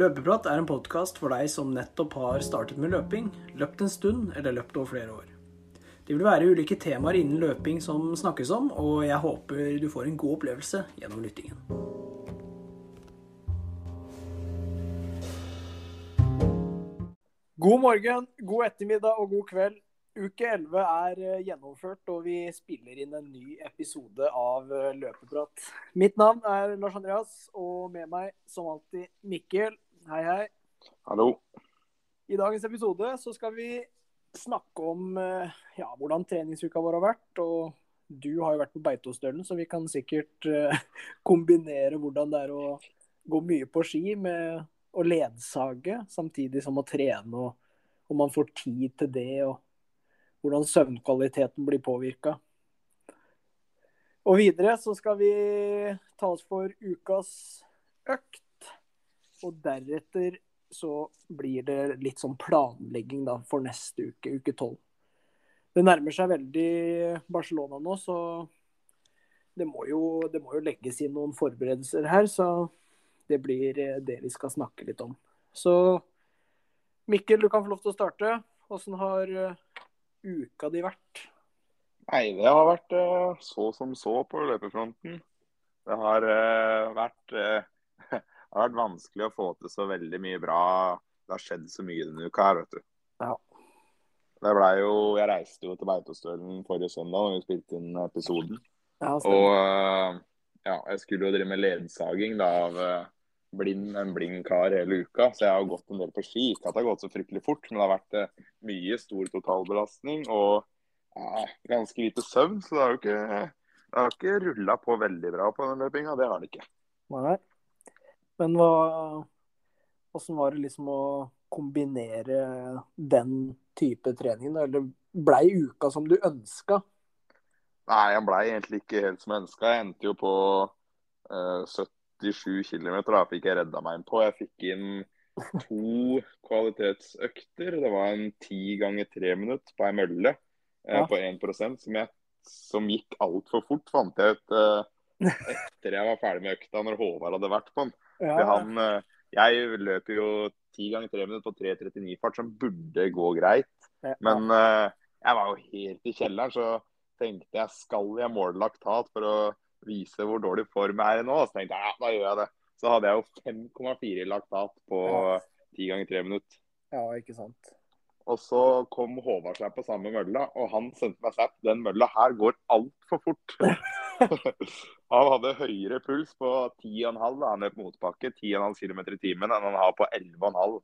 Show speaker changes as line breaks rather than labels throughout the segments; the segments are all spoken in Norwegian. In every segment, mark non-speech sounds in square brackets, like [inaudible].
Løpeprat er en podkast for deg som nettopp har startet med løping, løpt en stund eller løpt over flere år. Det vil være ulike temaer innen løping som snakkes om, og jeg håper du får en god opplevelse gjennom lyttingen.
God morgen, god ettermiddag og god kveld. Uke 11 er eh, gjennomført, og vi spiller inn en ny episode av eh, Løpeprat. Mitt navn er Lars Andreas, og med meg som alltid Mikkel. Hei, hei.
Hallo.
I dagens episode så skal vi snakke om eh, ja, hvordan treningsuka vår har vært. Og du har jo vært på Beitostølen, så vi kan sikkert eh, [laughs] kombinere hvordan det er å gå mye på ski med å ledsage, samtidig som å trene, og om man får tid til det, og hvordan søvnkvaliteten blir påvirka. Og videre så skal vi ta oss for ukas økt, og deretter så blir det litt sånn planlegging da, for neste uke, uke 12. Det nærmer seg veldig Barcelona nå, så det må jo, det må jo legges inn noen forberedelser her. Så det blir eh, det vi skal snakke litt om. Så Mikkel, du kan få lov til å starte. Åssen har eh, uka di vært?
Nei, det har vært eh, så som så på løpefronten. Det har eh, vært eh, [laughs] det har vært vanskelig å få til så veldig mye bra. Det har skjedd så mye denne uka her, vet du.
Ja.
Det ble jo, jeg reiste jo til Beitostølen forrige søndag da vi spilte inn episoden.
Ja,
Og eh, ja, jeg skulle jo drive med ledsaging da, av eh, blind, en blind kar hele uka. Så jeg har jo gått en del på ski. Ikke at det har gått så fryktelig fort, men det har vært eh, mye stor totalbelastning og ja, ganske lite søvn. Så det har jo ikke, det har ikke rulla på veldig bra på den løpinga. Det har det ikke.
Nei. Men hva Åssen var det liksom å kombinere den type trening, da? Eller blei uka som du ønska?
Nei, han blei egentlig ikke helt som jeg ønska. Jeg endte jo på eh, 77 km, da fikk jeg redda meg inn på. Jeg fikk inn to kvalitetsøkter. Det var en 10 ganger 3 minutt på ei mølle eh,
Ja.
på 1 som, jeg, som gikk altfor fort, fant jeg ut eh, etter jeg var ferdig med økta, når Håvard hadde vært på den.
Ja,
For han, eh, jeg løper jo 10 ganger 3 minutter på 3.39-fart, som burde gå greit.
ja.
Men eh, jeg var jo helt i kjelleren, så tenkte jeg skal jeg måle laktat for å vise hvor dårlig form jeg er i nå? Så tenkte jeg ja, da gjør jeg det. Så hadde jeg jo 5,4 i laktat på
Ja.
10 ganger 3 minutter.
ja, ikke sant.
Og så kom Håvard seg på samme mølla, og han sendte meg snap. Den mølla her går altfor
[laughs]
fort. han hadde høyere puls på 10,5 da han løp motbakke, 10,5 km i timen, enn han har på 11,5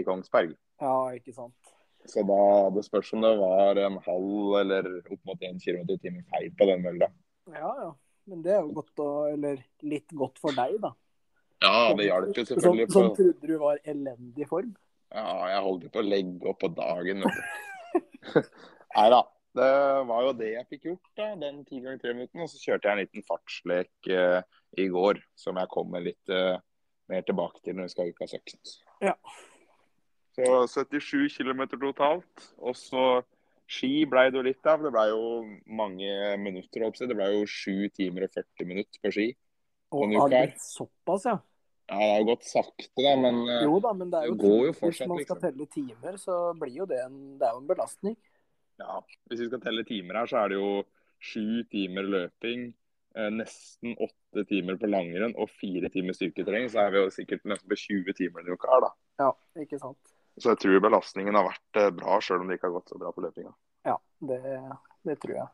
i Kongsberg.
Ja, ikke sant.
Så da det spørs om det var en halv eller opp mot 1 km i timen feil på den mølla.
Ja, ja. Men det er jo godt å Eller litt godt for deg, da.
Ja, det hjalp jo
Som,
selvfølgelig.
som
På,
trodde du var elendig form.
ja, jeg holdt jo på å legge opp på dagen.
[laughs]
Nei da. Det var jo det jeg fikk gjort, da, den ti ganger tre minuttene. Og så kjørte jeg en liten fartslek eh, i går, som jeg kommer litt eh, mer tilbake til når vi skal ha ukas økt.
Ja.
Så 77 km totalt. Og så ski blei det jo litt av. Det blei jo mange minutter, holdt jeg på å si. Det blei jo 7 timer og 40 minutter på ski.
Og
Om uka
har
her.
blitt såpass, ja.
Ja, det har jo gått sakte, da, men eh,
Jo da, men det er jo
Det går jo
Hvis
fortsatt,
man skal
liksom.
telle timer, så blir jo det en, det er jo en belastning.
ja, hvis vi skal telle timer her, så er det jo sju timer løping, eh, nesten åtte timer på langrenn og fire timer styrketrening. Så er vi jo sikkert nesten på 20 timer denne uka her, da.
Ja, ikke sant.
Så jeg tror belastningen har vært eh, bra, sjøl om det ikke har gått så bra på løpinga.
Ja, det, det tror jeg.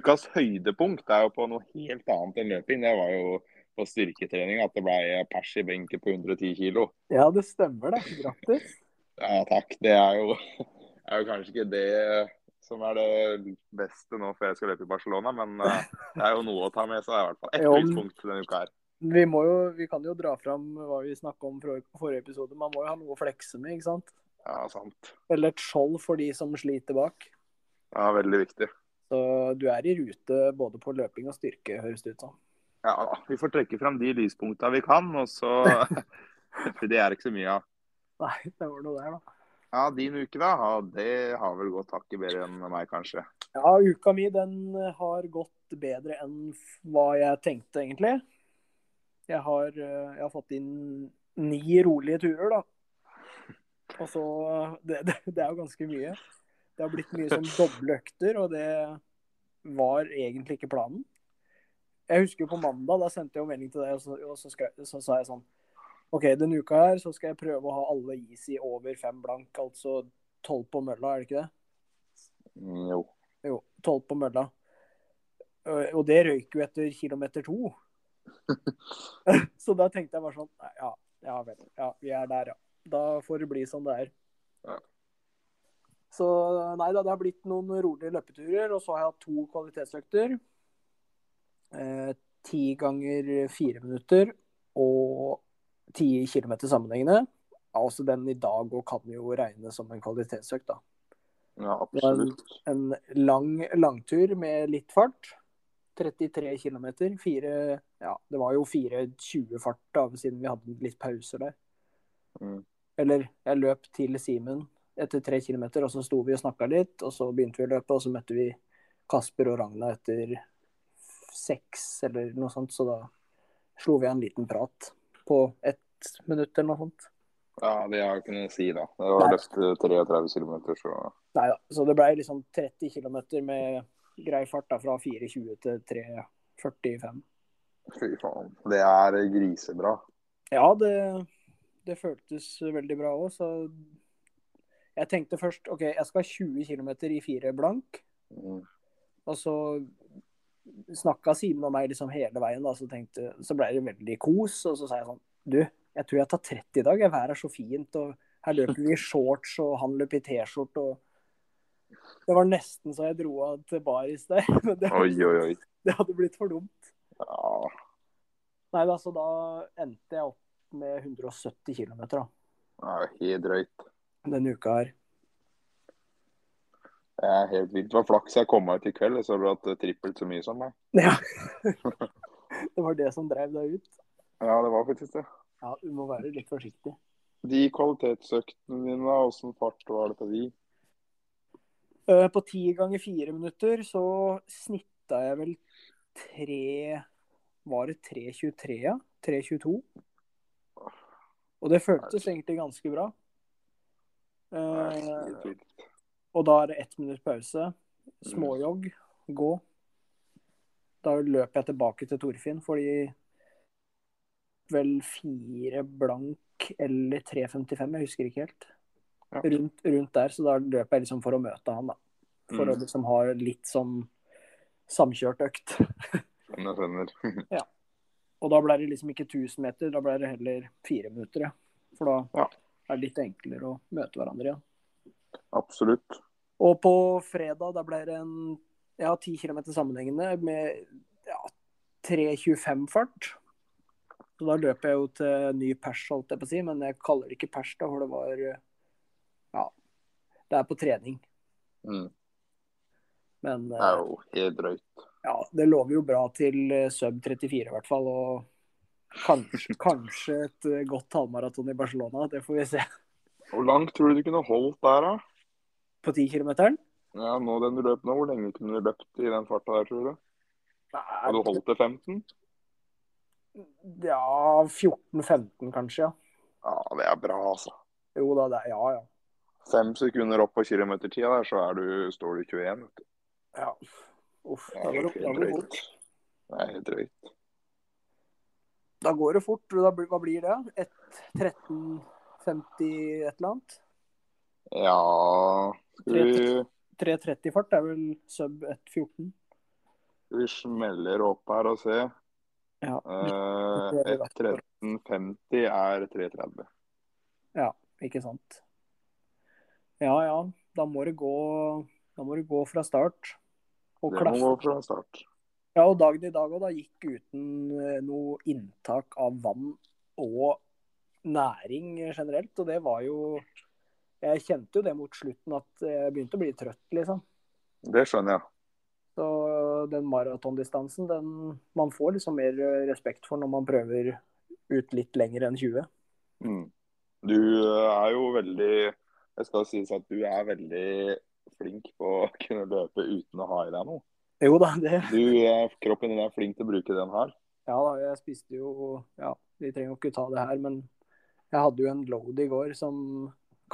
Ukas høydepunkt er jo på noe helt annet enn løping. Det var jo på styrketrening at det ble pers i benken på 110 kilo.
Ja, det stemmer det. Grattis.
Ja, takk. Det er jo, [laughs] er jo kanskje ikke det som er det beste nå før jeg skal løpe i Barcelona, men eh, det er jo noe å ta med seg. i hvert fall. Et
Jo.
høydepunkt denne uka her.
Vi, må jo, vi kan jo dra fram hva vi snakka om fra forrige episode. Man må jo ha noe å flekse med, ikke sant?
Ja, sant.
Eller et skjold for de som sliter bak.
Ja, Veldig viktig.
Så du er i rute både på løping og styrke, høres det ut som.
Ja, da, Vi får trekke fram de lyspunkta vi kan, og så
[laughs]
For det er ikke så mye av.
Nei, det var noe der, da.
Ja, din uke, da. Ja, det har vel gått hakket bedre enn meg, kanskje.
Ja, uka mi den eh, har gått bedre enn f- hva jeg tenkte, egentlig. Jeg har, eh, jeg har fått inn ni rolige turer, da. Og så eh, det, det, det er jo ganske mye. Det har blitt mye som doble økter, og det var egentlig ikke planen. Jeg husker jo på mandag, da sendte jeg jo melding til deg, og så, og så, skrev, så sa jeg sånn OK, denne uka her så skal jeg prøve å ha alle is i over fem blank, altså tolv på mølla, er det ikke det?
Mm, Jo.
Jo, tolv på mølla. Ø, Og det røyk jo etter kilometer to. så da tenkte jeg bare sånn nei, Ja, ja vel. Ja, vi er der, ja. Da får det bli som det er.
Ja.
Så nei da, det har blitt noen rolige løpeturer. Og så har jeg hatt to kvalitetsøkter. Eh, Ti ganger fire minutter og ti kilometer sammenhengende. Ja, Også den i dag og kan jo regnes som en kvalitetsøkt, da
Ja, absolutt.
en lang langtur med litt fart. 33 km. Fire, ja, det var jo 4.20 fart da, siden vi hadde litt pauser der.
Mm.
Eller jeg løp til Simen etter tre km, og så sto vi og snakka litt. Og så begynte vi å løpe, og så møtte vi Kasper og Ragna etter seks eller noe sånt. Så da slo vi av en liten prat på ett minutt eller noe sånt.
Ja, det har jo ikke noe å si, da. Det var
Nei.
løft 33 km, så
Nei da. Så det ble liksom 30 km med grei fart da, fra 4.20 til 3.45.
fy faen. Det er grisebra.
Ja, det, det føltes veldig bra òg, så Jeg tenkte først OK, jeg skal 20 km i fire blank.
Mm.
Og så snakka Simen og meg liksom hele veien, da, så, tenkte, så ble det veldig kos. Og så sa jeg sånn Du, jeg tror jeg tar 30 i dag. jeg, Været er så fint. Og her løper vi i shorts, og han løper i T-skjorte. og Det var nesten så jeg dro av til baris der. [laughs] Men det,
Oi, oi, oi.
[laughs] det hadde blitt for dumt.
Ja,
Nei, altså da endte jeg opp med 170 km da,
det er jo helt drøyt.
denne uka her. [laughs]
Det er helt vilt. Det var flaks jeg kom meg ut i kveld. Jeg så du hatt trippelt så mye som meg.
Ja. Det var det som drev deg ut.
Ja, det var faktisk det.
Ja, du må være litt forsiktig.
De kvalitetsøktene dine, da, åssen fart var det på de?
Eh, På ti ganger fire minutter så snitta jeg vel tre Var det 3.23, ja? 3.22. Og det føltes egentlig ganske bra.
Det er
Eh,
helt vilt.
Og da er det ett minutt pause.
Mm.
Småjogg. Gå. Da løper jeg tilbake til Torfinn, fordi Vel fire blank eller 3,55, jeg husker ikke helt.
Ja.
Rundt, rundt der, så da løper jeg liksom for å møte han, da. For å
Mm.
liksom ha litt sånn samkjørt økt. [laughs]
Men Jeg skjønner. [laughs]
Og da ble det liksom ikke 1000 meter, da ble det heller fire minutter, ja. For da
Ja.
er det litt enklere å møte hverandre igjen.
Absolutt.
Og på fredag da ble det en ja, 10 km sammenhengende med ja, 3.25 fart. Så da løp jeg jo til ny pers, holdt jeg på å si, men jeg kaller det ikke pers, da, for det var Ja, det er på trening.
Mm.
Men eh,
Det er jo helt drøyt.
ja, det lover jo bra til eh, sub 34 i hvert fall, og
[laughs]
kanskje, kanskje et eh, godt halvmaraton i Barcelona. Det får vi se
Hvor langt tror du du kunne holdt der, da?
på 10 km.
Ja, nå den du løp nå, Hvor lenge kunne du løpt i den farta der, tror du? Har du holdt til 15?
Ja, 14-15 kanskje, ja.
Ja, det er bra, altså.
Jo da, det er ja, ja.
Fem sekunder opp på kilometertida der, så er du, står du 21. vet du.
Ja. Uff,
Det
da
er
går,
jo
det, da,
helt
går det fort.
drøyt. Det er helt drøyt.
da går det fort. Da, blir- hva blir det? Et 13.50 et eller annet?
Ja Skal vi,
3.30 fart er vel sub 1.14?
vi smeller opp her og se.
Ja.
Eh, 1.13,50 er 3.30.
Ikke sant. Ja ja, da må det gå, da må det gå fra start. Og
Det må gå
klaffe.
fra start.
Ja, og dagen i dag òg, da gikk uten eh, noe inntak av vann og næring generelt. Og det var jo Jeg kjente jo det mot slutten at jeg begynte å bli trøtt, liksom.
Det skjønner jeg.
Så den maratondistansen, den man får liksom mer respekt for når man prøver ut litt lenger enn 20.
Mm. Du eh, er jo veldig Det skal sies at du er veldig flink på å kunne løpe uten å ha i deg noe.
Jo da, det
Du, eh, kroppen din er flink til å bruke den her.
Ja da, jeg spiste jo Ja, vi trenger jo ikke ta det her, men Jeg hadde jo en load i går som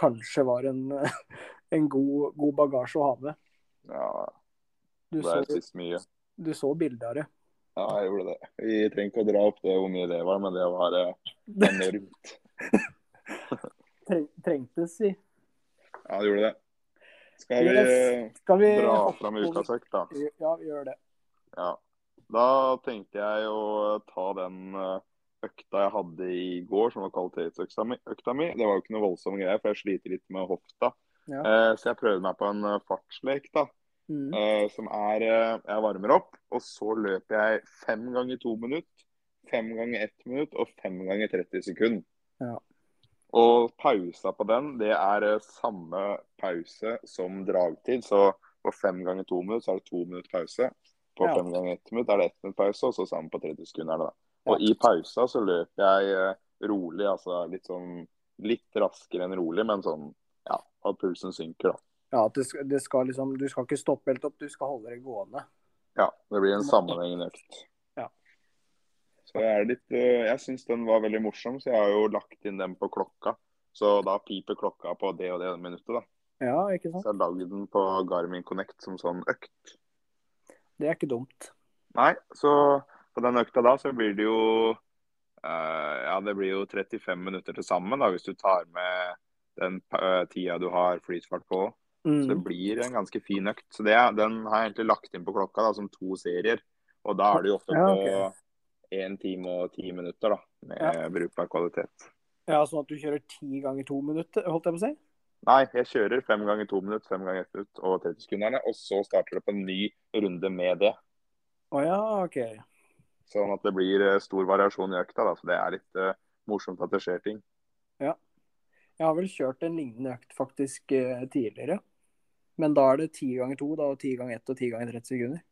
kanskje var en, [laughs] en god, god bagasje å ha med.
Ja,
Du
det
så,
er sist mye.
du så bildet av det.
Ja, jeg gjorde det. Vi trenger ikke å dra opp det hvor mye det var, men det var eh, enormt.
[laughs] Treng, trengtes, si.
Ja, det gjorde det. Skal vi
Yes. Skal vi
dra
hoppe
fram
over-
ukas økt, da?
Ja, vi gjør det.
Ja. Da tenkte jeg å ta den eh, økta jeg hadde i går, som var kvalitetsøkta mi. økta mi. Det var jo ikke noe voldsom greie, for jeg sliter litt med hofta.
Ja.
Eh, Så jeg prøvde meg på en eh, fartslek, da.
Mm.
eh, Som er eh, Jeg varmer opp, og så løper jeg fem ganger to minutt, fem ganger ett minutt og fem ganger 30 sekund.
Ja.
Og pausa på den, det er eh, samme pause som dragtid. Så på fem ganger to minutt, så er det to minutt pause. På
Ja.
fem ganger ett minutt er det ett minutt pause, og så sammen på 30 sekunder. Da.
Ja.
Og i pausa så løper jeg eh, rolig, altså litt sånn Litt raskere enn rolig, men sånn ja, at pulsen synker, da.
Ja, at det skal, det skal liksom, Du skal ikke stoppe helt opp, du skal holde det gående.
Ja, det blir en sammenhengende økt.
Ja.
Så jeg er litt eh, Jeg syns den var veldig morsom, så jeg har jo lagt inn den på klokka. Så da piper klokka på det og det minuttet, da.
Ja, ikke sant?
Så jeg lagde den på Garmin Connect som sånn økt.
Det er ikke dumt.
Nei, så på den økta da så blir det jo eh, Ja, det blir jo 35 minutter til sammen da, hvis du tar med den eh, tida du har flytfart på. Så det
Mm.
blir en ganske fin økt. Så det, den har jeg egentlig lagt inn på klokka da, som to serier. Og da er det jo ofte
Ja,
på én time og ti minutter da, med brukbar kvalitet.
Ja, Sånn at du kjører ti ganger to minutter, holdt jeg på å si?
Nei, jeg kjører fem ganger to minutter, fem ganger ett minutt og 30 sekunderne. Og så starter det på en ny runde med det.
Å ja, OK.
Sånn at det blir eh, stor variasjon i økta. da, Så det er litt eh, morsomt at det skjer ting.
Jeg har vel kjørt en lignende økt faktisk eh, tidligere. Men da er det ti ganger to, da, og ti ganger ett og ti ganger 30 sekunder.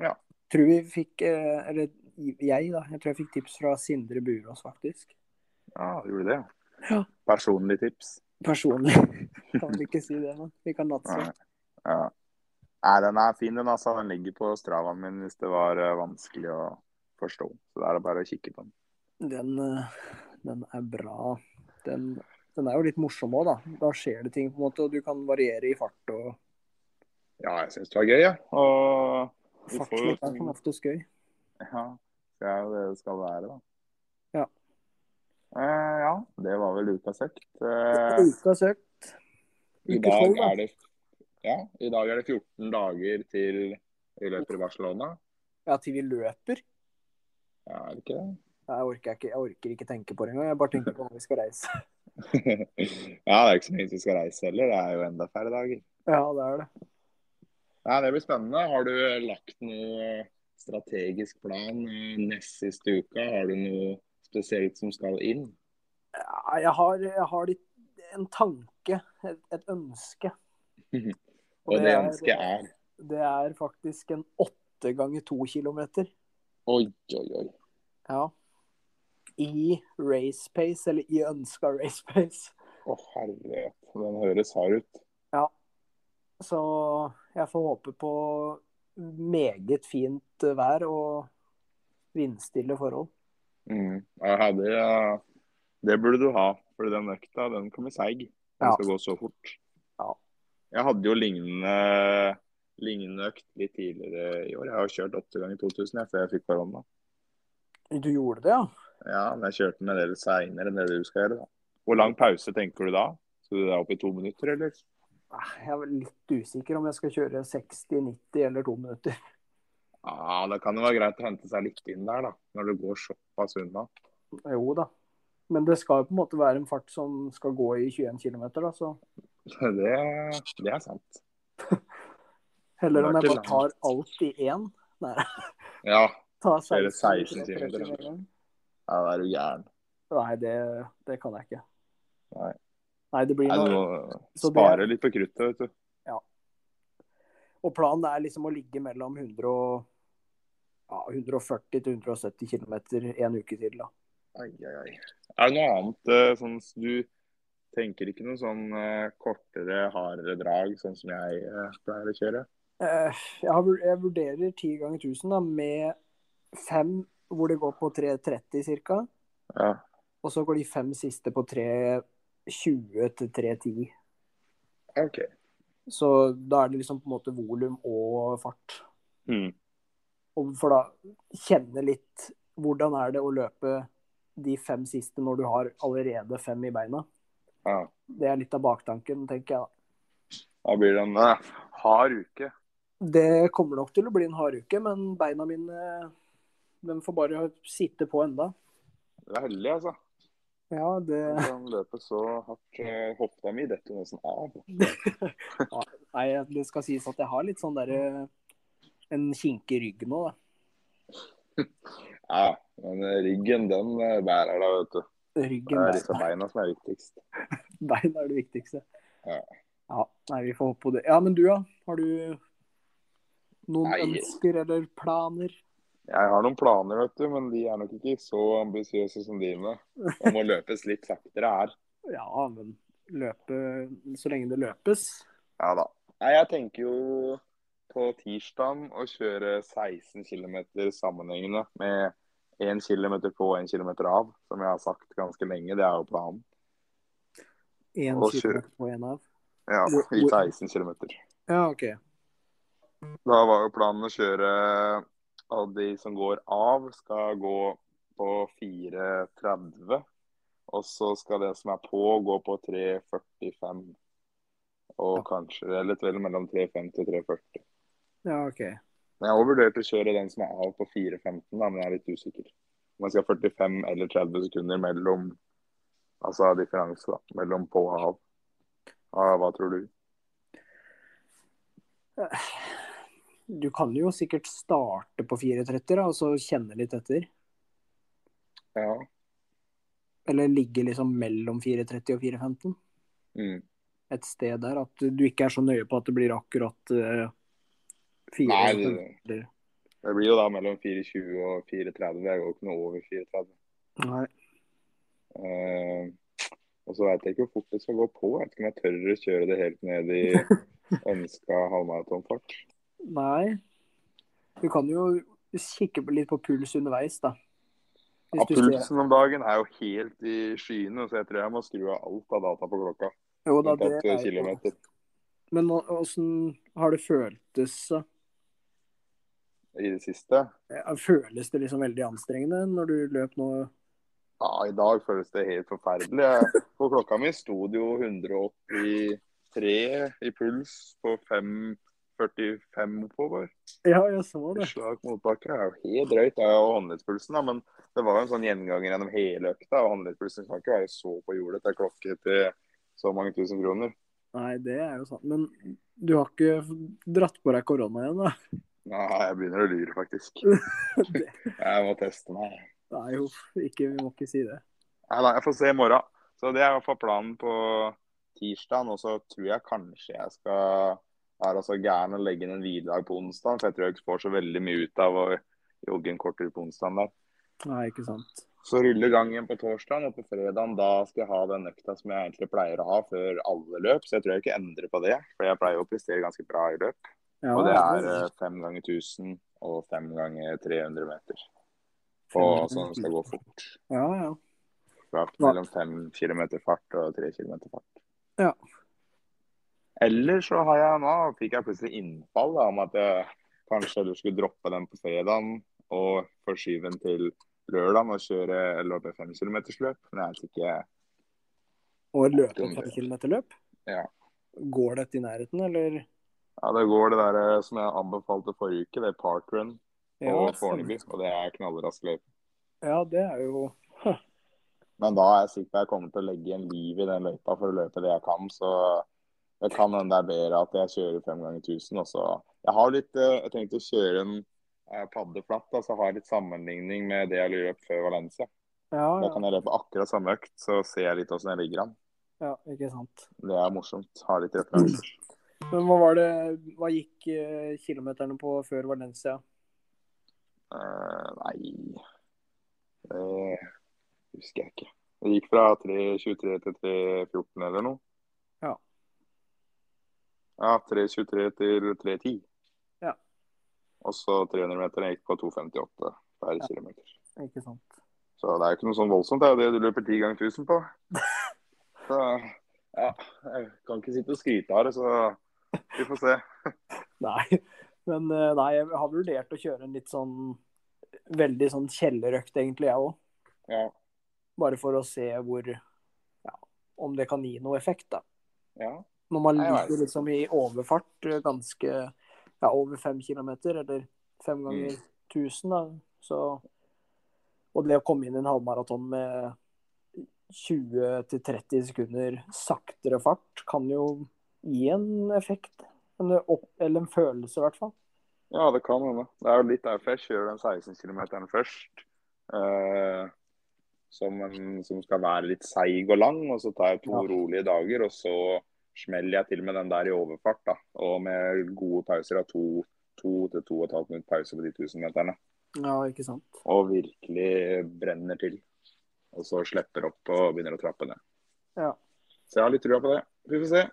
Ja.
Tror vi fikk eh, Eller jeg, da. Jeg tror jeg fikk tips fra Sindre Burås, faktisk.
Ja, du gjorde det.
Ja.
Personlig tips.
Personlig. [laughs] kan vi ikke si det, men vi kan natse.
Nei. Ja. Nei, den er fin, den altså. Den ligger på stravaen min hvis det var eh, vanskelig å forstå. Så da er det bare å kikke på den.
Den, eh, den er bra. Den, den er jo litt morsom òg, da. Da skjer det ting, på en måte, og du kan variere i fart og
Ja, jeg syns det var gøy, ja. Og Vi får jo-
fartslitt er som oftest gøy.
ja, det er jo det det skal være, da.
Ja.
Eh, ja, det var vel ukas økt. Eh,
Uka søkt.
I
Uke
dag
tolv, da.
er det ja, i dag er det 14 dager til vi løper i Barcelona.
Ja, til vi løper.
Ja, er det ikke det?
Jeg orker, jeg ikke, jeg orker ikke tenke på det engang. Jeg bare tenker på når vi skal reise. [laughs]
ja, det [laughs] er ikke så mye vi skal reise heller. Det er jo enda færre dager.
Ja, det er det.
Nei, Det blir spennende. Har du lagt noe eh, strategisk plan eh, nest siste uka? Har du noe spesielt som skal inn?
Ja, jeg har, jeg har litt, en tanke, et, et ønske.
[laughs] Og det ønsket er
Det er faktisk en åtte ganger to kilometer.
Oi, oi, oi.
Ja. I race pace, eller i ønska race pace.
Å, herlighet. Den høres hard ut.
Så jeg får håpe på meget fint vær og vindstille forhold.
Mm. Ja, det, det burde du ha, for den økta den kommer seig. Den
Ja.
skal gå så fort.
Ja.
Jeg hadde jo lignende, lignende økt litt tidligere i år. Jeg har kjørt åtte ganger 2000 jeg, før jeg fikk korona.
Du gjorde det, ja?
Ja, men jeg kjørte den en del seinere enn det du skal gjøre. da. Hvor lang pause tenker du da? Skal du da opp i to minutter, eller?
Ah, Jeg er litt usikker om jeg skal kjøre 60, 90 eller to minutter. [laughs]
Ja, Da kan det være greit å hente seg litt inn der, da. Når det går såpass unna. [laughs]
Jo da. Men det skal jo på en måte være en fart som skal gå i 21 km, da. Så
Det, det er sant.
heller om
Det er
jeg
ikke
bare tar alt i én. Nei,
Ja,
ta
Kjøre
16
16
kilometer
kilometer.
en gang.
ja da er du gæren.
Nei, det, det kan jeg ikke.
Nei.
Nei, det blir
Nei, du
noe.
må
Så det-
spare litt på kruttet, vet du.
Og planen er liksom å ligge mellom 100 og, ja, 140 til 170 km en uke til, da.
Ai, ai, ai. Er det noe annet eh, sånn s- du tenker ikke noe sånn eh, kortere, hardere drag, sånn som jeg eh, pleier å kjøre?
Eh, Jeg, har, vur- jeg vurderer 10 ganger 1000 da, med fem hvor det går på 3.30 ca.
Ja.
Og så går de fem siste på 3.20 til 3.10.
OK.
Så da er det liksom på en måte volum og fart.
Mm.
Og for da kjenne litt hvordan er det å løpe de fem siste når du har allerede fem i beina.
Ja.
Det er litt av baktanken, tenker jeg. da.
Da blir det en eh, hard uke.
Det kommer nok til å bli en hard uke, men beina mine de får bare sitte på enda.
Du er heldig, altså.
Ja, det
Du kan løpe så hardt. eh, Hoppa mi detter nesten av.
Nei, det skal sies at jeg har litt sånn derre En kinkig rygg nå, da.
Ja, men eh, ryggen, den eh, bærer da, vet du. Det
Ryggen
er sånn.
der.
disse beina som er viktigst.
Beina er det viktigste.
Ja.
Ja, nei, vi får håpe på det. Ja, men du, da? Har du noen
Nei.
ønsker eller planer?
Jeg har noen planer, vet du, men de er nok ikke så ambisiøse som dine. Det må løpes litt saktere her.
Ja, men løpe så lenge det løpes.
Ja da. Nei, jeg tenker jo på tirsdagen å kjøre 16 km sammenhengende med 1 km på og 1 km av, som jeg har sagt ganske lenge. Det er jo planen.
Én
Og
kilometer på én av.
Ja, i 16 km.
Ja, OK.
Da var jo planen å kjøre at de som går av, skal gå på 4.30. Og så skal det som er på, gå på 3.45. Og kanskje Eller vel mellom 3.50 og 3.40.
Ja, ok.
Men Jeg har også vurdert å kjøre den som er av på 4.15, da, men jeg er litt usikker. Om jeg skal ha 45 eller 30 sekunder mellom Altså differanse, da. Mellom på og av. Ja, hva tror du?
Du kan jo sikkert starte på 4.30 da, og så kjenne litt etter.
Ja.
Eller ligge liksom mellom 4.30 og 4.15.
Mm.
Et sted der at du ikke er så nøye på at det blir akkurat uh,
Nei,
4.15.
det, det blir jo da mellom 4.20 og 4.30. Jeg går ikke noe over 4.30.
Nei.
Eh, og så veit jeg ikke hvor fort det skal gå på. Jeg vet ikke om jeg tør å kjøre det helt ned
[laughs]
i ønska halvmaratonfart.
Nei. Du kan jo kikke på- litt på puls underveis, da.
Ja,
Hvis du ser.
pulsen om dagen er jo helt i skyene, så jeg tror jeg må skru av alt av data på klokka.
Jo, da, det
Unntatt
er, jo-
kilometer.
men nå- åssen har det føltes? da?
i det siste.
Ja, Føles det liksom veldig anstrengende når du løp nå?
Ja, I dag føles det helt forferdelig. Jeg- På klokka mi sto det jo 183 i puls på 5.45 oppover.
Ja, jeg så det.
Slag motbakke er jo helt drøyt. Det er jo håndleddspulsen, da. Men det var jo en sånn gjenganger gjennom hele økta. Og håndleddspulsen skal ikke være så på jordet til klokke til så mange tusen kroner.
Nei, det er jo sant. Men du har ikke dratt på deg korona igjen, da?
Nei, jeg begynner å lure, faktisk.
[laughs] Det-
Jeg må teste meg.
Nei, jo, ikke, vi må ikke si det.
Nei da, jeg får se i morgen. Så det er i hvert fall planen på tirsdagen. Og så tror jeg kanskje jeg skal være så gæren og legge inn en hviledag på onsdag. For jeg tror jeg ikke får så veldig mye ut av å jogge en kortere på onsdag der.
Nei, ikke sant.
Så ruller gangen på torsdagen, og på fredagen da skal jeg ha den økta som jeg egentlig pleier å ha før alle løp. Så jeg tror jeg ikke endrer på det, for jeg pleier å prestere ganske bra i løp.
Ja,
Og det er eh, fem ganger 1000 og fem ganger 300 meter. Og sånn skal gå fort.
Ja, ja.
Ja, mellom 5 km fart og 3 km fart.
Ja.
Eller så har jeg nå fikk jeg plutselig innfall da, om at jeg kanskje heller skulle droppe den på fredagen og forskyve den til lørdagen og kjøre løpe 5 km løp. Men jeg vet ikke
Og løpe fem kilometer løp?
Ja.
Går dette i nærheten, eller?
Ja, det går det der eh, som jeg anbefalte forrige uke, det er parkrun på
Ja,
Fornebu. Og det er knallrask løype.
Ja, det er jo
Men da er jeg sikker på at jeg kommer til å legge igjen liv i den løypa for å løpe det jeg kan. Så det kan hende det er bedre at jeg kjører fem ganger 1000. Og så jeg har litt, eh, jeg tenkte å kjøre en eh, paddeflatt, da, så har jeg litt sammenligning med det jeg løp før Valencia.
Ja,
Da
ja.
kan jeg løpe akkurat samme økt, så ser jeg litt åssen jeg ligger an.
ja ikke sant.
Det er morsomt. Ha litt referanser.
Men hva var det Hva gikk eh, kilometerne på før Valencia?
Eh, nei Det husker jeg ikke. Det gikk fra 3.23 til 3.14 eller noe.
Ja.
Ja, 3.23 til 3.10.
Ja.
Og så 300 meter jeg gikk på 2.58 per kilometer.
Ikke sant.
Så det er jo ikke noe sånn voldsomt. Det er jo det du løper ti ganger 1000
[laughs]
på. Så ja, jeg kan ikke sitte og skryte av det, så vi får se.
[laughs] Nei. Men eh, nei, jeg har vurdert å kjøre en litt sånn veldig sånn kjellerøkt, egentlig, jeg òg.
Ja,
Bare for å se hvor Ja, om det kan gi noe effekt, da.
ja.
Når man
Nei, jeg
ligger
vet.
liksom i overfart eh, ganske Ja, over fem kilometer, eller fem ganger 1000, da, så Og det å komme inn i en halvmaraton med 20-30 sekunder saktere fart kan jo gi en effekt. En opp, eller en følelse, i hvert fall.
Ja, det kan hende. Det er jo litt derfor jeg kjører den 16 km først. eh, som, en, som skal være litt seig og lang. Og så tar jeg to
Ja.
rolige dager, og så smeller jeg til med den der i overfart. da, Og med gode pauser av to, to til to og et halvt minutt pause på de 1000 meterne.
Ja, ikke sant.
Og virkelig brenner til. Og så slipper opp og begynner å trappe ned.
Ja.
Så jeg har litt trua på det. Vi får se.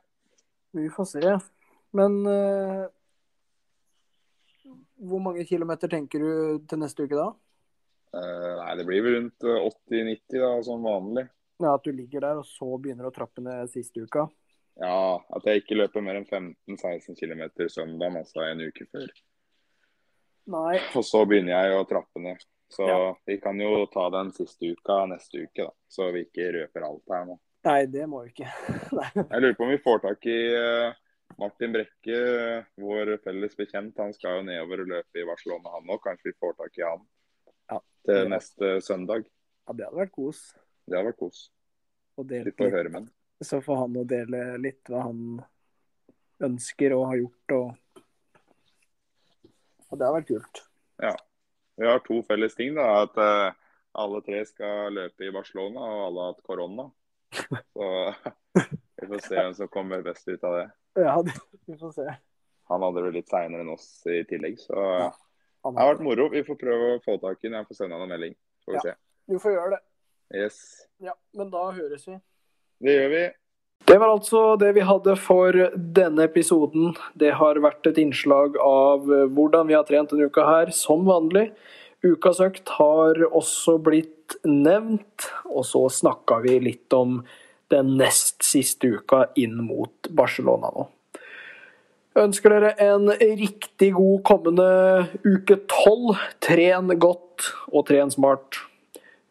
Vi får se. Men eh, hvor mange kilometer tenker du til neste uke da?
Eh, nei, det blir vel rundt eh, 80-90 da, som vanlig.
Ja, At du ligger der, og så begynner å trappe ned siste uka?
Ja, at jeg ikke løper mer enn 15-16 km søndag, altså en uke før.
Nei.
Og så begynner jeg å trappe ned. Så
Ja.
vi kan jo ta den siste uka neste uke, da. Så vi ikke røper alt her nå.
Nei, det må vi ikke. [laughs] Nei.
Jeg lurer på om vi får tak i eh, Martin Brekke, eh, vår felles bekjent. Han skal jo nedover og løpe i Barcelona, han òg. Kanskje vi får tak i han
Ja.
til neste søndag.
Ja, det hadde vært kos.
Det hadde vært kos.
å
Vi
dele
får
litt.
høre med han.
Så får han å dele litt hva han ønsker og har gjort. Og... Ja, det hadde vært kult.
Vi har to felles ting. da, At eh, alle tre skal løpe i Barcelona, og alle har hatt korona. Så [laughs] vi får se hvem som kommer best ut av det.
Ja, [laughs] det, vi får se.
Han hadde det litt seinere enn oss i tillegg, så
Ja,
det har vært moro. Vi får prøve å få tak i ham. Jeg får sende han en melding. Får vi se.
Du får gjøre det.
Yes.
Ja, men da høres vi.
Det gjør vi.
Det var altså det vi hadde for denne episoden. Det har vært et innslag av hvordan vi har trent denne uka her, som vanlig. Ukas økt har også blitt nevnt, og så snakka vi litt om den nest siste uka inn mot Barcelona nå. Ønsker dere en riktig god kommende uke tolv. Tren godt og tren smart.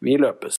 Vi løpes.